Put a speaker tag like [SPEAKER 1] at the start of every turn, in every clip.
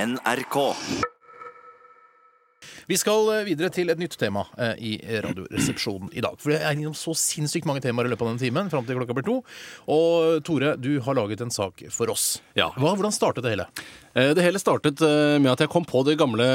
[SPEAKER 1] NRK.
[SPEAKER 2] Vi skal eh, videre til et nytt tema eh, i Radioresepsjonen i dag. For det er innom så sinnssykt mange temaer i løpet av denne timen, fram til klokka blir to. Og Tore, du har laget en sak for oss.
[SPEAKER 3] Ja.
[SPEAKER 2] Hva, hvordan startet det hele?
[SPEAKER 3] Eh, Det hele startet eh, med at jeg kom på det gamle,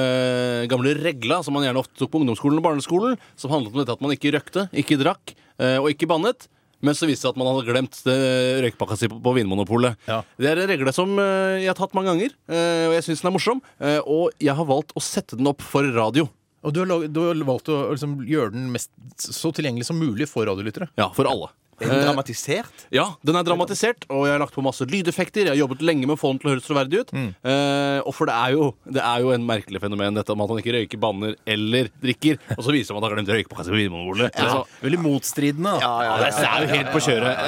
[SPEAKER 3] gamle regla som man gjerne ofte tok på ungdomsskolen og barneskolen, som handlet om dette at man ikke røkte, ikke drakk eh, og ikke bannet. Men så viste det seg at man hadde glemt eh, røykpakka si på- på Vinmonopolet.
[SPEAKER 2] Ja.
[SPEAKER 3] Det er en regle som eh, jeg har tatt mange ganger, eh, og jeg syns den er morsom. eh, Og jeg har valgt å sette den opp for radio.
[SPEAKER 2] Og du har, lag- du har valgt å liksom, gjøre den mest, så tilgjengelig som mulig for radiolyttere.
[SPEAKER 3] Ja, for alle. Eh,
[SPEAKER 4] Er den dramatisert?
[SPEAKER 3] Ja, den er dramatisert, og jeg har lagt på masse lydeffekter. Jeg har jobbet lenge med å få den til å høres troverdig ut.
[SPEAKER 2] Mm.
[SPEAKER 3] Eh, og for det er, jo, det er jo en merkelig fenomen, dette med at man ikke røyker, banner eller drikker. Og så viser man at man har glemt røykepakka på Vinmonopolet. Altså,
[SPEAKER 2] Veldig motstridende. da.
[SPEAKER 3] ja, det er jo helt på kjøret.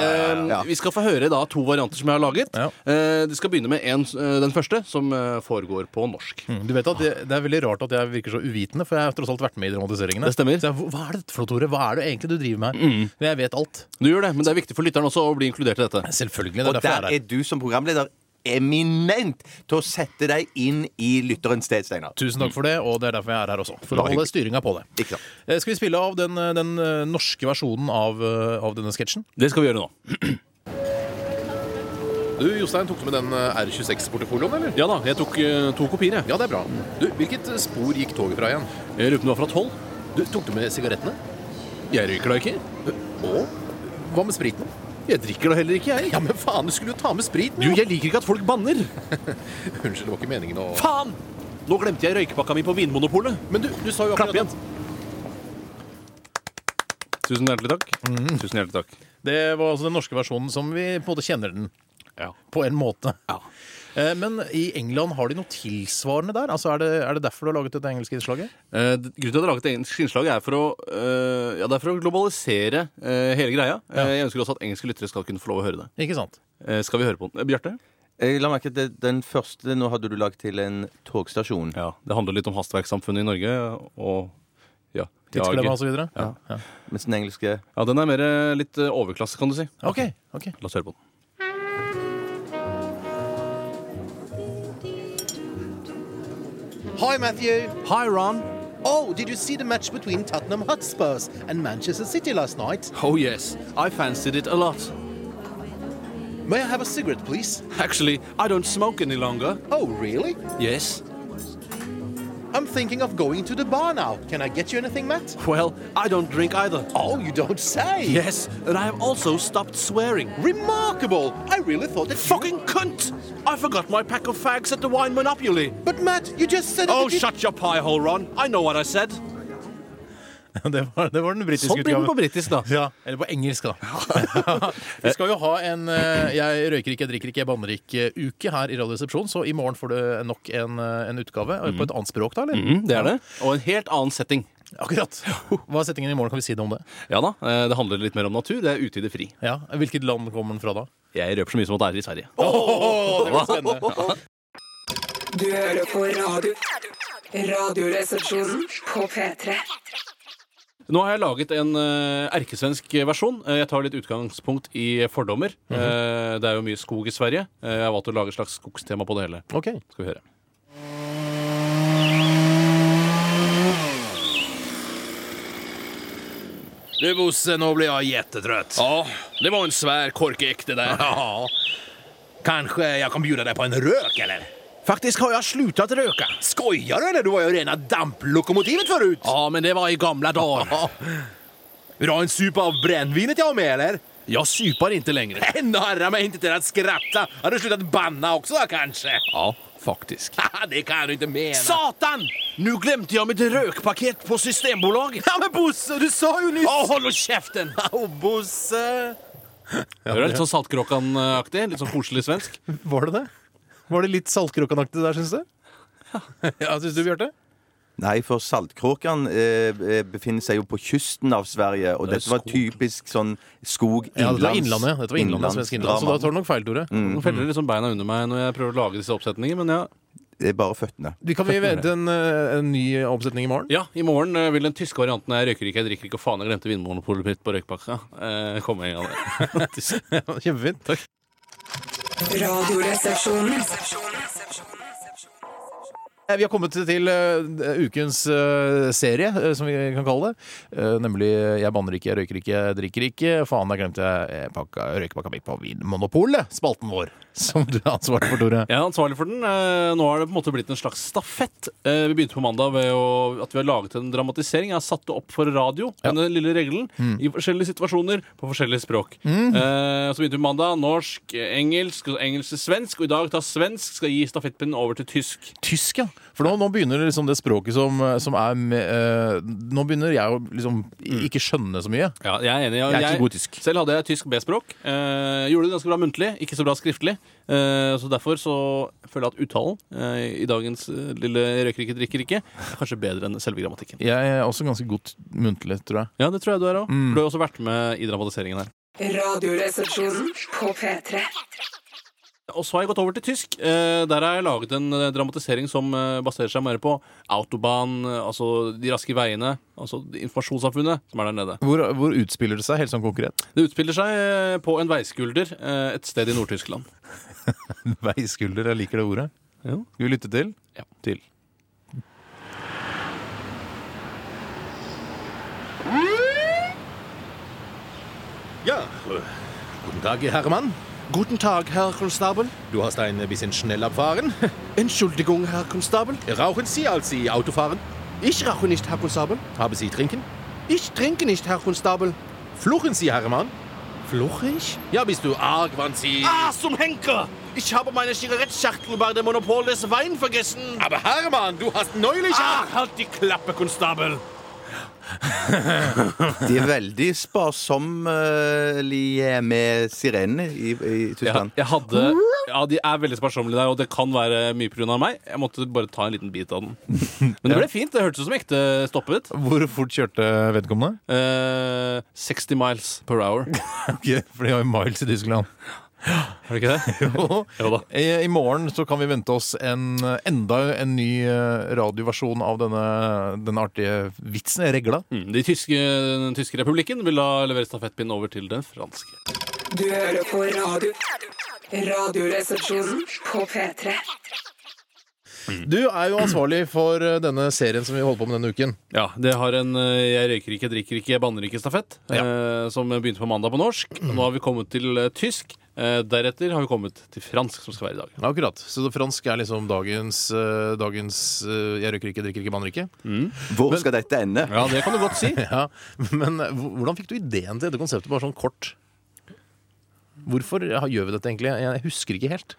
[SPEAKER 3] Eh, Vi skal få høre da to varianter som jeg har laget.
[SPEAKER 2] Ja.
[SPEAKER 3] Eh, det skal begynne med en, eh, den første, som eh, foregår på norsk.
[SPEAKER 2] Mm, Du vet at det, det er veldig rart at jeg virker så uvitende, for jeg har tross alt vært med i dramatiseringene.
[SPEAKER 3] Det Mm. stemmer.
[SPEAKER 2] Så jeg, hva er dette for noe, Tore? Hva er det egentlig du driver med her? Men jeg vet alt.
[SPEAKER 3] Du gjør det, men det er viktig for lytteren også å bli inkludert i dette.
[SPEAKER 2] Selvfølgelig. Det
[SPEAKER 4] Og
[SPEAKER 2] er
[SPEAKER 4] der
[SPEAKER 2] derfor jeg
[SPEAKER 4] er
[SPEAKER 2] er her.
[SPEAKER 4] du som programleder eminent til å sette deg inn i lytterens sted, Steinar.
[SPEAKER 2] Tusen takk for det, og det er derfor jeg er her også. For å
[SPEAKER 4] Bare
[SPEAKER 2] holde styringa på det.
[SPEAKER 4] Ikke sant?
[SPEAKER 2] Eh, Skal vi spille av den, eh, den eh, norske versjonen av, eh, av denne sketsjen?
[SPEAKER 3] Det skal vi gjøre nå.
[SPEAKER 5] Du, Jostein, tok du med den R26-portefolioen, eller?
[SPEAKER 3] Ja da, jeg tok eh, to kopier, jeg.
[SPEAKER 5] Ja, det er bra. Du, hvilket eh, spor gikk toget fra igjen?
[SPEAKER 3] Jeg lurer på om det var fra tolv.
[SPEAKER 5] Du, tok du med sigarettene?
[SPEAKER 3] Jeg røyker da ikke.
[SPEAKER 5] Og? Hva med spriten?
[SPEAKER 3] Jeg drikker da heller ikke, jeg.
[SPEAKER 5] Ja, men faen, du skulle jo ta med spriten!
[SPEAKER 3] Du, jeg liker ikke at folk banner!
[SPEAKER 5] Unnskyld, det var ikke meningen å
[SPEAKER 3] Faen! Nå glemte jeg røykepakka mi på Vinmonopolet.
[SPEAKER 5] Men du, du sa jo
[SPEAKER 3] Klapp
[SPEAKER 5] akkurat
[SPEAKER 3] igjen. Tusen hjertelig takk.
[SPEAKER 2] Mm.
[SPEAKER 3] Tusen hjertelig takk.
[SPEAKER 2] Det var altså den norske versjonen som vi på en måte kjenner den.
[SPEAKER 3] Ja.
[SPEAKER 2] På en måte.
[SPEAKER 3] Ja.
[SPEAKER 2] Eh, Men i England har de noe tilsvarende der? Altså, er, det, er det derfor du har laget dette engelske innslaget?
[SPEAKER 3] Eh, d- grunnen til at jeg har laget et engelsk innslag, er for å, eh, ja, det er for å globalisere eh, hele greia. Eh, jeg ønsker også at engelske lyttere skal kunne få lov å høre det.
[SPEAKER 2] Ikke sant?
[SPEAKER 3] Eh, skal vi høre på den? Eh, Bjarte?
[SPEAKER 4] Jeg la merke til den første Nå hadde du lagd til en togstasjon.
[SPEAKER 3] Ja. Det handler litt om hastverkssamfunnet i Norge, og ja.
[SPEAKER 2] Tidsklemma og så videre? Ja.
[SPEAKER 4] Mens den engelske
[SPEAKER 3] ja, den er mer eh, litt eh, overklasse, kan du si.
[SPEAKER 2] OK. ok.
[SPEAKER 3] La oss høre på den.
[SPEAKER 6] Hi, Matthew.
[SPEAKER 3] Hi, Ron.
[SPEAKER 6] Oh, did you see the match between Tottenham Hotspurs and Manchester City last night?
[SPEAKER 3] Oh yes, I fancied it a lot.
[SPEAKER 6] May I have a cigarette, please?
[SPEAKER 3] Actually, I don't smoke any longer.
[SPEAKER 6] Oh, really?
[SPEAKER 3] Yes.
[SPEAKER 6] I'm thinking of going to the bar now. Can I get you anything, Matt?
[SPEAKER 3] Well, I don't drink either.
[SPEAKER 6] Oh, you don't say.
[SPEAKER 3] Yes, and I have also stopped swearing.
[SPEAKER 6] Remarkable. I really thought that.
[SPEAKER 3] Fucking cunt! I forgot my pack of fags at the wine monopoly.
[SPEAKER 6] You... But Matt, you just said.
[SPEAKER 3] Oh,
[SPEAKER 6] that you-
[SPEAKER 3] shut your pie hole, Ron. I know what I said.
[SPEAKER 2] Det var, det var den britiske
[SPEAKER 3] Sånn blir den på britisk, da.
[SPEAKER 2] Ja, Eller på engelsk, da. Vi skal jo ha en eh, Jeg røyker ikke, jeg drikker ikke, jeg banner ikke-uke her i Radioresepsjonen, så i morgen får du nok en, eh, en utgave. eh, På et annet språk, da, eller?
[SPEAKER 3] Mm, det er det. Og en helt annen setting.
[SPEAKER 2] Akkurat. Hva er settingen i morgen? Kan vi si noe om det?
[SPEAKER 3] Ja da, eh, det handler litt mer om natur. Det er ute i det fri.
[SPEAKER 2] Ja, Hvilket land kommer den fra da?
[SPEAKER 3] Jeg røper så mye som at det er i Sverige.
[SPEAKER 7] Du hører på radio. Radioresepsjonen på P3.
[SPEAKER 3] Nå har jeg laget en eh, erkesvensk versjon. Eh, jeg tar litt utgangspunkt i fordommer. Eh, det er jo mye skog i Sverige. Eh, jeg har valgt å lage et slags skogstema på det hele.
[SPEAKER 2] Ok.
[SPEAKER 3] Skal vi høre.
[SPEAKER 5] Du, Bosse, nå blir jeg jättetrött.
[SPEAKER 8] Ja, det var en svär korkek det där.
[SPEAKER 5] Ja. Kanskje jeg kan bjuda deg på en røk, eller?
[SPEAKER 8] Faktiskt har jag slutat röka.
[SPEAKER 5] Skojar du, eller? Du var jo rena damplokomotivet förut!
[SPEAKER 8] Ja, men det var i gamla dagar.
[SPEAKER 5] Ja. Vill du ha en sup av brännvinet jag har med, eller?
[SPEAKER 8] Jag supar inte längre.
[SPEAKER 5] Ändå harra mig inte till att skratta. Har du slutat banna också, kanske?
[SPEAKER 8] Ja, faktiskt.
[SPEAKER 5] Haha, det kan du inte mena.
[SPEAKER 8] Satan! Nu glömde jag mitt rökpaket på Systembolaget.
[SPEAKER 5] Ja, men Bosse, du sa ju nyss...
[SPEAKER 8] Åh, håll och käften!
[SPEAKER 5] Au, Bosse!
[SPEAKER 3] det er litt sånn Saltkråkan-aktig. Litt sånn koselig svensk.
[SPEAKER 2] Var det det? Var det litt Saltkråkan-aktig der, syns du? Ja, syns du, Bjarte?
[SPEAKER 4] Nei, for Saltkråkan eh, eh, befinner seg jo på kysten av Sverige, og
[SPEAKER 3] Det er
[SPEAKER 4] dette var
[SPEAKER 3] skog.
[SPEAKER 4] typisk sånn skog
[SPEAKER 2] Ja,
[SPEAKER 4] innlands.
[SPEAKER 2] dette var Innlandet. Dette var innlandet, svensk innland, så da
[SPEAKER 4] drama.
[SPEAKER 2] tar du nok feil, Tore.
[SPEAKER 3] Nå feller liksom beina under meg når jeg prøver å lage disse oppsetningene, men ja.
[SPEAKER 4] Det er bare føttene.
[SPEAKER 2] Vi Kan vi vente en, eh, en ny oppsetning i morgen?
[SPEAKER 3] ja I morgen eh, vil den tyske varianten jeg røyker ikke, jeg drikker ikke, og faen, jeg glemte vinmonopolet mitt på røykpakka, eh, komme en gang.
[SPEAKER 2] Kjempefint.
[SPEAKER 7] Radioresepsjonen
[SPEAKER 2] Eh, Vi har kommet til eh, ukens eh, serie, eh, som vi kan kalle det. Eh, nemlig eh, Jeg banner ikke, jeg røyker ikke, jeg drikker ikke. Faen, der glemte jeg eh, pakka, røykepakka mi på Vinmonopolet, spalten vår. Som du har ansvaret for, Tore.
[SPEAKER 3] Jeg er ansvarlig for den. Eh, Nå har det på en måte blitt en slags stafett. Eh, Vi begynte på mandag ved å, at vi har laget en dramatisering. Jeg har satt det opp for radio, denne lille regelen, i forskjellige situasjoner på forskjellige språk. Eh, Så begynte vi mandag norsk, eh, engelsk, og engelsk til svensk, og i dag tar svensk skal gi stafettpinnen over til tysk.
[SPEAKER 2] Tysk, ja. For nå, nå begynner det liksom det språket som, som er med, eh, Nå begynner jeg å liksom ikke skjønne så mye.
[SPEAKER 3] Ja, jeg er enig. Jeg,
[SPEAKER 2] Jeg er ikke god i tysk.
[SPEAKER 3] Selv hadde jeg tysk B-språk. Eh, gjorde det ganske bra muntlig, ikke så bra skriftlig. Eh, så derfor så føler jeg at uttalen eh, i dagens eh, lille røyker ikke, drikker ikke, er kanskje bedre enn selve grammatikken.
[SPEAKER 2] Jeg er også ganske god muntlig, tror jeg.
[SPEAKER 3] Ja, det tror jeg du er òg. Du har jo også vært med i dramatiseringen her.
[SPEAKER 7] Radioresepsjonen på P3.
[SPEAKER 3] Og så har jeg gått over til tysk. Eh, der har jeg laget en eh, dramatisering som eh, baserer seg mer på autobahn, eh, altså de raske veiene, altså informasjonssamfunnet som er der nede.
[SPEAKER 2] Hvor, hvor utspiller det seg, helt sånn konkret?
[SPEAKER 3] Det utspiller seg eh, på en veiskulder eh, et sted i Nord-Tyskland.
[SPEAKER 2] Veiskulder, jeg liker det ordet.
[SPEAKER 3] Jo.
[SPEAKER 2] Skal vi lytte til?
[SPEAKER 3] Ja.
[SPEAKER 2] Til.
[SPEAKER 5] Ja, äh, guten Tag, Hermann.
[SPEAKER 8] Guten Tag, Herr Konstabel.
[SPEAKER 5] Du hast ein bisschen schnell abfahren.
[SPEAKER 8] Entschuldigung, Herr Konstabel.
[SPEAKER 5] Rauchen Sie, als Sie Auto fahren?
[SPEAKER 8] Ich rauche nicht, Herr Konstabel.
[SPEAKER 5] Haben Sie trinken?
[SPEAKER 8] Ich trinke nicht, Herr Konstabel.
[SPEAKER 5] Fluchen Sie, Hermann?
[SPEAKER 8] Fluche ich?
[SPEAKER 5] Ja, bist du arg, wann Sie...
[SPEAKER 8] Ah, zum Henker! Ich habe meine Zigarettschachtel bei dem Monopol des Wein vergessen.
[SPEAKER 5] Aber Hermann, du hast neulich...
[SPEAKER 8] Ach, halt die Klappe, Konstabel.
[SPEAKER 4] De er veldig sparsommelige med sirenene i, i
[SPEAKER 3] Ja,
[SPEAKER 4] Tyskland.
[SPEAKER 3] jeg hadde, ja, de er veldig sparsommelige der, og det kan være mye pga. meg. Jeg måtte bare ta en liten bit av den. Men det ble fint. Det hørtes ut som ekte stoppet.
[SPEAKER 2] Hvor fort kjørte vedkommende?
[SPEAKER 3] Eh, 60 miles per hour.
[SPEAKER 2] Ok, For de har jo miles i Tyskland.
[SPEAKER 3] Er det ikke det? Jo da.
[SPEAKER 2] I, I morgen så kan vi vente oss en, enda en ny eh, radioversjon av denne, denne artige vitsen. Jeg regla.
[SPEAKER 3] Mm, de tyske, den tyske republikken vil da levere stafettpinnen over til den franske.
[SPEAKER 7] Du hører på radio. Radioresepsjonen på P3.
[SPEAKER 2] Du er jo ansvarlig for eh, denne serien som vi holder på med denne uken.
[SPEAKER 3] Ja, Det har en eh, jeg røyker ikke, jeg drikker ikke, jeg banner ikke-stafett, eh, som begynte på mandag på norsk. Nå har vi kommet til eh, tysk. Eh, deretter har vi kommet til fransk, som skal være i dag.
[SPEAKER 2] Akkurat. Så det fransk er liksom dagens, eh, dagens eh, Jeg røyker ikke, drikker ikke, banner ikke.
[SPEAKER 4] Hvor skal dette ende?
[SPEAKER 3] Ja, det kan du godt si.
[SPEAKER 2] Ja, Men eh, hvor- hvordan fikk du ideen til dette konseptet, bare sånn kort? Hvorfor ja, gjør vi dette egentlig? Jeg husker ikke helt.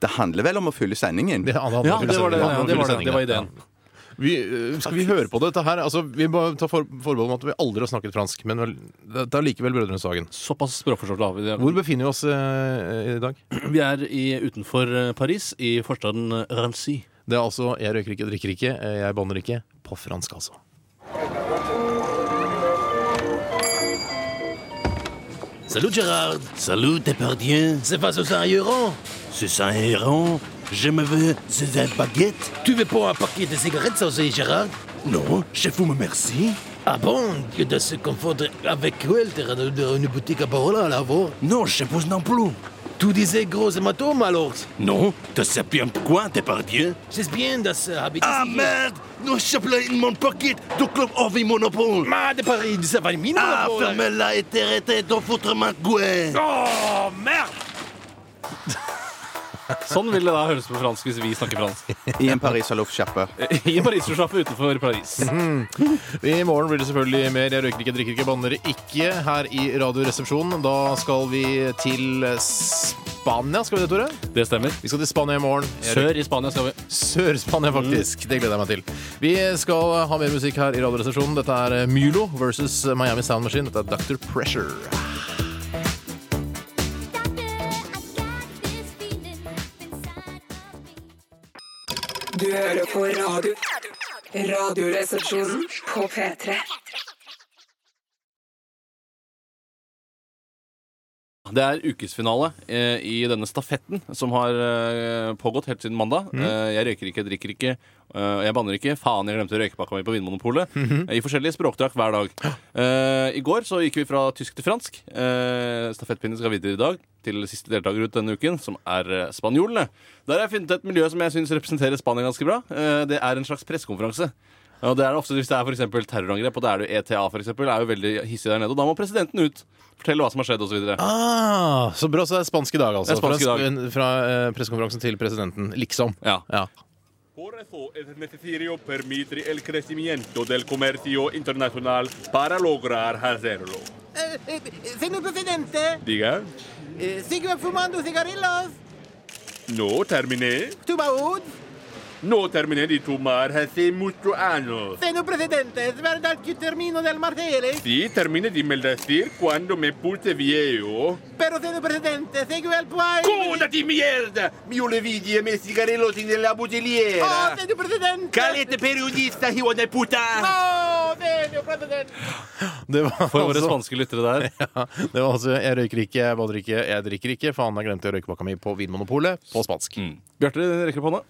[SPEAKER 4] Det handler vel om å fylle sendingen.
[SPEAKER 2] Det- han- han-
[SPEAKER 3] Ja, det var det,
[SPEAKER 2] han- han-
[SPEAKER 3] det, var det,
[SPEAKER 2] sendingen.
[SPEAKER 3] det var ideen.
[SPEAKER 2] Vi, øh, skal vi høre på dette her? Altså, vi må ta for, forbehold om at vi aldri har snakket fransk, men vel, det er likevel Brødrenes Hagen.
[SPEAKER 3] Såpass språkforståelse har vi. det.
[SPEAKER 2] Hvor befinner vi oss øh, i dag?
[SPEAKER 3] Vi er i, utenfor eh, Paris, i forstaden eh, Rancy.
[SPEAKER 2] Det er altså 'Jeg røyker ikke, drikker ikke, eh, jeg banner ikke' på fransk, altså.
[SPEAKER 5] Salut, Gerard.
[SPEAKER 8] Salut, Depardieu.
[SPEAKER 5] C'est face au Saint-Héron.
[SPEAKER 8] C'est Saint-Héron. Je me veux des baguettes.
[SPEAKER 5] Tu veux pas un paquet de cigarettes aussi, Gerard
[SPEAKER 8] Non, je vous merci.
[SPEAKER 5] Ah bon Que de se confondre avec Welter de- de- une boutique à Barola, là, vous
[SPEAKER 8] Non, je vous non plus.
[SPEAKER 5] Tu disais gros hématome, alors
[SPEAKER 8] Non, tu sais bien pourquoi, Depardieu
[SPEAKER 5] C'est bien de se habiter
[SPEAKER 8] Ah merde Non, je plais in mon pocket du club Orvi Monopole
[SPEAKER 5] Ma de Paris, ça va mine
[SPEAKER 8] Ah, ferme-la et t'arrêtez de foutre ma gueule
[SPEAKER 5] Oh, merde
[SPEAKER 3] Sånn vil det da høres på fransk hvis vi snakker fransk.
[SPEAKER 4] I en pariserloffsjappe.
[SPEAKER 3] I Paris-sjappa utenfor Paris.
[SPEAKER 2] I morgen blir det selvfølgelig mer 'Jeg røyker ikke, drikker ikke, banner ikke' her i Radioresepsjonen. Da skal vi til Spania, skal vi det, Tore?
[SPEAKER 3] Det stemmer.
[SPEAKER 2] Vi skal til Spania i morgen. Jeg
[SPEAKER 3] Sør i Spania skal vi.
[SPEAKER 2] Sør-Spania, faktisk. Det gleder jeg meg til. Vi skal ha mer musikk her i Radioresepsjonen. Dette er Mylo versus Miami Sound Machine. Dette er Dr. Pressure.
[SPEAKER 7] Du hører på radio. Radioresepsjonen på P3.
[SPEAKER 3] Det er ukesfinale eh, i denne stafetten som har eh, pågått helt siden mandag. Eh, jeg røyker ikke, jeg drikker ikke, eh, jeg banner ikke. Faen, jeg glemte røykepakka mi på Vinmonopolet. eh, I forskjellige språkdrakt hver dag. Eh, I går så gikk vi fra tysk til fransk. Eh, stafettpinnen skal videre i dag til siste deltaker ut denne uken, som er eh, spanjolene. Der har jeg funnet et miljø som jeg syns representerer Spania ganske bra. Eh, det er en slags pressekonferanse. Ja, det er det ofte Hvis det er for eksempel terrorangrep, og det er det jo ETA, for eksempel, er jo veldig hissig der nede. Og da må presidenten ut. Fortelle hva som har skjedd, osv.
[SPEAKER 2] Ah, så bra. Så det er spansk i dag, altså.
[SPEAKER 3] Det er spansk i
[SPEAKER 2] fra
[SPEAKER 3] dag.
[SPEAKER 2] en- fra eh, pressekonferansen til presidenten. Liksom.
[SPEAKER 3] Ja.
[SPEAKER 2] Ja.
[SPEAKER 1] Por eso es necesario permitir el crecimiento del comercio internacional para lograr hacerlo.
[SPEAKER 6] Eh, Señor presidente,
[SPEAKER 1] Diga,
[SPEAKER 6] sigue fumando cigarrillos.
[SPEAKER 1] no terminé,
[SPEAKER 6] Tubaud.
[SPEAKER 1] no terminé de tomar hace muchos años.
[SPEAKER 6] Señor presidente, es verdad que termino de ¿eh? almarceles.
[SPEAKER 1] Sí, terminé de maldecir cuando me puse viejo.
[SPEAKER 6] Pero, señor presidente, sigue el país.
[SPEAKER 1] ¡Cuna de mierda!
[SPEAKER 4] Io le vidi e me sigarellosi nella
[SPEAKER 6] Oh,
[SPEAKER 4] butelliera.
[SPEAKER 6] señor presidente.
[SPEAKER 4] Calete periodista, hijo de puta!
[SPEAKER 6] Oh, señor presidente.
[SPEAKER 2] Det var
[SPEAKER 3] For våre
[SPEAKER 2] altså
[SPEAKER 3] spanske lyttere der.
[SPEAKER 2] ja, Det var altså 'Jeg røyker ikke, jeg bader ikke, jeg drikker ikke'. Faen, jeg glemte røykepakka mi på Vinmonopolet på spansk.
[SPEAKER 3] Bjarte rekker opp hånda.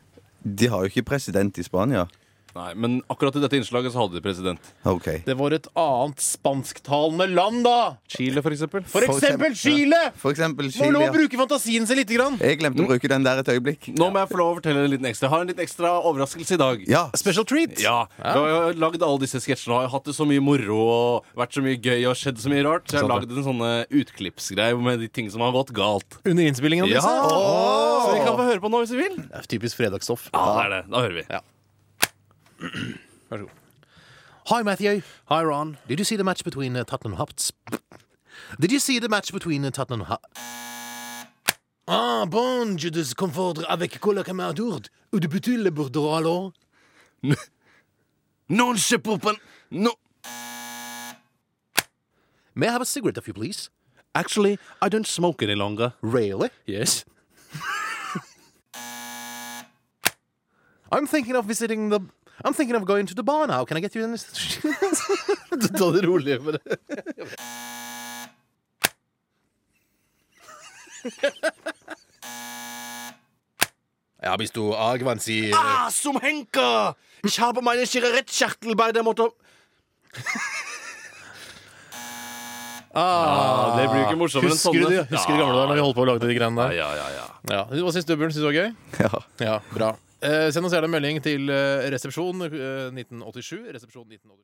[SPEAKER 9] De har jo ikke president i Spania.
[SPEAKER 3] Nei, men akkurat i dette innslaget så hadde de president.
[SPEAKER 9] OK.
[SPEAKER 2] Det var et annet spansktalende land, da!
[SPEAKER 3] Chile, for eksempel.
[SPEAKER 2] For eksempel Chile!
[SPEAKER 9] For eksempel
[SPEAKER 2] Må lov å
[SPEAKER 9] Chile.
[SPEAKER 2] bruke fantasien sin lite grann.
[SPEAKER 9] Jeg glemte å bruke den der et øyeblikk.
[SPEAKER 3] Nå må jeg få lov å fortelle en liten ekstra. Jeg har en liten ekstra overraskelse i dag.
[SPEAKER 9] Ja.
[SPEAKER 2] Special treat.
[SPEAKER 3] Ja, Jeg har lagd alle disse sketsjene og har hatt det så mye moro og vært så mye gøy og skjedd så mye rart. Så jeg har
[SPEAKER 2] Sant
[SPEAKER 3] lagd en sånne utklippsgreie med de ting som har gått galt.
[SPEAKER 2] Under innspillingen av
[SPEAKER 3] Ja.
[SPEAKER 2] disse.
[SPEAKER 3] Så vi kan få høre på nå hvis vi vil.
[SPEAKER 2] Det er Typisk fredagsstoff.
[SPEAKER 3] Ja, det er det. Da hører vi.
[SPEAKER 2] Vær så god. Hi, Matthew.
[SPEAKER 6] Hi, Ron. Did you see the match between uh, Tottenham Hotspur? Did you see the match between uh, Tottenham Hot? Ah, bon, je te confondre avec Cola Camardourde. Ou de butu le bourdon alors?
[SPEAKER 3] Non se popen. No.
[SPEAKER 6] May I have a cigarette, if you please?
[SPEAKER 3] Actually, I don't smoke any longer.
[SPEAKER 6] Really?
[SPEAKER 3] Yes.
[SPEAKER 6] I'm thinking of visiting the. I'm thinking of going to the bar now. Can I get you in this? Ta det rolig med det.
[SPEAKER 2] Ja, hvis du Agvan sier eh,
[SPEAKER 8] Ah, zum Henker! Ich habe meine Zigarettenschachtel bei der Motor...
[SPEAKER 3] Ja, det blir jo ikke morsommere enn
[SPEAKER 2] Husker
[SPEAKER 3] sånne.
[SPEAKER 2] du det? Husker du gamle dager da vi holdt på å lage de greiene
[SPEAKER 3] Ja,
[SPEAKER 2] der?
[SPEAKER 3] ja, ja, ja.
[SPEAKER 2] Ja. Hva syns du, Bjørn? Syns du det var gøy?
[SPEAKER 9] ja.
[SPEAKER 2] Ja, bra. Eh, send oss gjerne en melding til eh, resepsjon eh, 1987. Resepsjon 1987.